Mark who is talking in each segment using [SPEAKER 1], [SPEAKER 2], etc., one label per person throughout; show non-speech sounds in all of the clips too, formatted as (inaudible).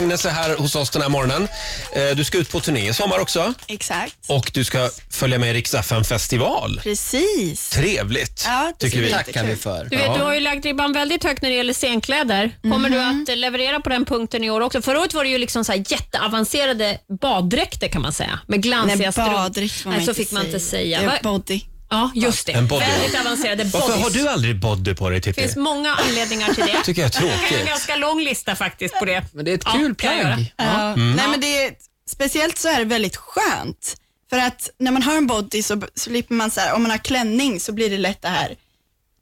[SPEAKER 1] Agnes är här hos oss den här morgonen. Eh, Du ska ut på turné i sommar också
[SPEAKER 2] Exakt.
[SPEAKER 1] och du ska följa med i Rix FM festival.
[SPEAKER 2] Precis.
[SPEAKER 1] Trevligt,
[SPEAKER 2] Ja, det
[SPEAKER 1] tycker
[SPEAKER 2] ser
[SPEAKER 1] vi.
[SPEAKER 2] ut.
[SPEAKER 3] Tackar vi för.
[SPEAKER 4] Du vet, du har ju lagt ribban väldigt högt när det gäller scenkläder. Kommer
[SPEAKER 1] Mhm.
[SPEAKER 4] du att eh, leverera på den punkten i år också? Förra året var det ju liksom så här jätteavancerade baddräkter kan man säga. Med glansiga
[SPEAKER 2] Nej,
[SPEAKER 4] strumpor.
[SPEAKER 2] baddräkt får man
[SPEAKER 4] Nej, så
[SPEAKER 2] inte
[SPEAKER 4] fick man inte säga.
[SPEAKER 2] Det är
[SPEAKER 4] Va-
[SPEAKER 2] Body.
[SPEAKER 4] Ja, just det.
[SPEAKER 1] En body.
[SPEAKER 4] Väldigt avancerade bodies.
[SPEAKER 1] Varför har du aldrig body på dig
[SPEAKER 4] Det
[SPEAKER 1] Titti?
[SPEAKER 4] finns många anledningar till det.
[SPEAKER 1] tycker jag är
[SPEAKER 4] Jag kan göra en
[SPEAKER 1] tråkigt.
[SPEAKER 4] ganska lång lista faktiskt på det.
[SPEAKER 3] Men det är ett
[SPEAKER 4] Ja, Mm.
[SPEAKER 3] kul
[SPEAKER 4] kan jag göra.
[SPEAKER 3] plagg.
[SPEAKER 2] Ja. Nej, men det är, speciellt så är det väldigt skönt. För att när man har en body så b- slipper man så här, om man har klänning så blir det lätt det här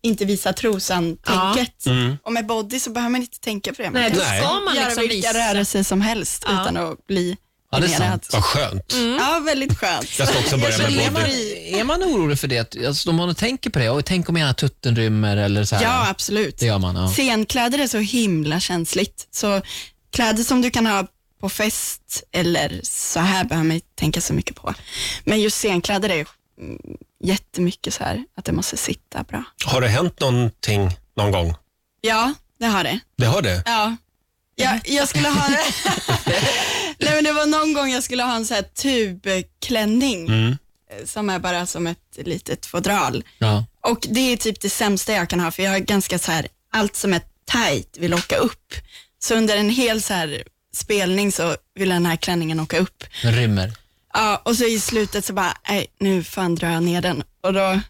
[SPEAKER 2] inte visa trosan-tänket.
[SPEAKER 1] Mm.
[SPEAKER 2] Och med body så behöver man inte tänka på det. Man
[SPEAKER 4] Nej, då
[SPEAKER 2] kan
[SPEAKER 1] Nej.
[SPEAKER 4] ska man
[SPEAKER 2] göra
[SPEAKER 4] liksom
[SPEAKER 2] vilka
[SPEAKER 4] visa.
[SPEAKER 2] rörelser som helst utan att bli
[SPEAKER 3] Ja, det är
[SPEAKER 2] generad.
[SPEAKER 3] sant.
[SPEAKER 1] Vad skönt.
[SPEAKER 4] Mm.
[SPEAKER 2] Ja, väldigt skönt.
[SPEAKER 1] Jag ska också börja
[SPEAKER 2] Jag
[SPEAKER 1] med
[SPEAKER 2] känner
[SPEAKER 3] Är man,
[SPEAKER 1] body.
[SPEAKER 2] mig-
[SPEAKER 3] är man orolig för det? Alltså, om man tänker på det, och tänk om ena tutten rymmer eller så här.
[SPEAKER 2] Ja, absolut.
[SPEAKER 3] Det gör man, ja.
[SPEAKER 2] Scenkläder är så himla känsligt. Så kläder som du kan ha på fest eller så här behöver man inte tänka så mycket på. Men just scenkläder är mm, jättemycket så här att det måste sitta bra.
[SPEAKER 1] Har det hänt någonting någon gång?
[SPEAKER 2] Ja, det har det.
[SPEAKER 1] Det har det?
[SPEAKER 2] Ja. Jag, jag skulle ha
[SPEAKER 3] (laughs)
[SPEAKER 2] Nej, men det var någon gång jag skulle ha en så här tubklänning eh, som är bara som ett litet fodral.
[SPEAKER 3] Mm. Ja.
[SPEAKER 2] Och det är typ det sämsta jag kan ha, för jag är ganska så här, allt som är tight vill åka upp. Så under en hel så här spelning så vill den här klänningen åka upp.
[SPEAKER 3] Den rymmer.
[SPEAKER 2] Ja, och så i slutet så bara, nej nu fan drar jag ner den. Och då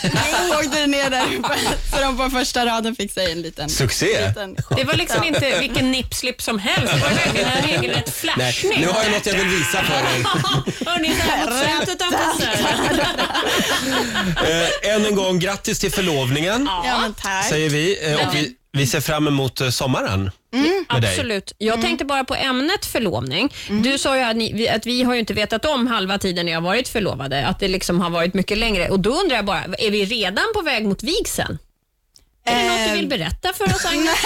[SPEAKER 2] (laughs) åkte den ner där, (laughs) så de på första raden fick sig en liten...
[SPEAKER 1] Succé.
[SPEAKER 2] liten chock.
[SPEAKER 4] Det var liksom inte vilken nippslipp som helst. Det var verkligen en regelrätt
[SPEAKER 1] Nej,
[SPEAKER 4] flashning.
[SPEAKER 1] nu har jag något jag vill visa för dig.
[SPEAKER 4] Hörni, så här mot slutet av konserten.
[SPEAKER 1] Eh, än en gång, grattis till förlovningen
[SPEAKER 2] Ja, men tack.
[SPEAKER 1] säger vi. Eh, och vi, vi ser fram emot eh, sommaren. med dig.
[SPEAKER 4] Absolut. Jag
[SPEAKER 2] Mm.
[SPEAKER 4] tänkte bara på ämnet förlovning. Du sa ju att, ni, vi- att vi har ju inte vetat om halva tiden ni har varit förlovade, att det liksom har varit mycket längre. Och Då undrar jag bara, är vi redan på väg mot vigseln? Är det något du
[SPEAKER 2] Eh,
[SPEAKER 4] vill berätta för oss, Agnes?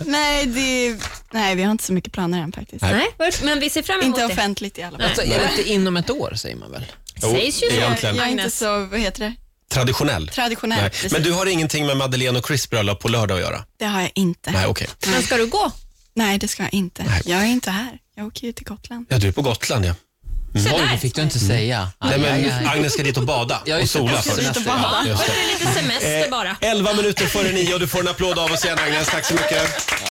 [SPEAKER 2] (laughs) Nej, det, nej, vi har inte så mycket planer än faktiskt.
[SPEAKER 4] Nej, men vi ser fram emot
[SPEAKER 2] Inte
[SPEAKER 4] det.
[SPEAKER 2] offentligt i alla fall.
[SPEAKER 3] Så är det inte inom ett år, säger man väl?
[SPEAKER 1] Jo,
[SPEAKER 4] Sägs ju så.
[SPEAKER 1] egentligen.
[SPEAKER 2] Jag är inte
[SPEAKER 4] Agnes.
[SPEAKER 2] så, vad heter det,
[SPEAKER 1] Traditionell.
[SPEAKER 2] traditionell.
[SPEAKER 1] Nej.
[SPEAKER 2] precis.
[SPEAKER 1] Men du har ingenting med Madeleine och Chris bröllop på lördag att göra?
[SPEAKER 2] Det har jag inte.
[SPEAKER 1] Nej, okej.
[SPEAKER 4] Men ska du gå?
[SPEAKER 2] Nej, det ska jag inte. Jag är inte här. Jag åker ju till Gotland.
[SPEAKER 1] Ja, du är på Gotland ja. Mm.
[SPEAKER 4] Se
[SPEAKER 3] Oj,
[SPEAKER 4] där!
[SPEAKER 3] det fick du inte säga.
[SPEAKER 1] Nej,
[SPEAKER 3] Aj, aj,
[SPEAKER 1] men
[SPEAKER 3] aj.
[SPEAKER 1] Agnes ska dit och bada
[SPEAKER 3] Ja,
[SPEAKER 1] och
[SPEAKER 3] just det.
[SPEAKER 1] sola
[SPEAKER 3] Jag ska
[SPEAKER 1] först.
[SPEAKER 3] dit och
[SPEAKER 1] Ja,
[SPEAKER 3] bada.
[SPEAKER 1] just Eh,
[SPEAKER 4] Var det lite semester bara?
[SPEAKER 1] det. 11 minuter före nio och du får en applåd av oss igen Agnes. Tack så mycket.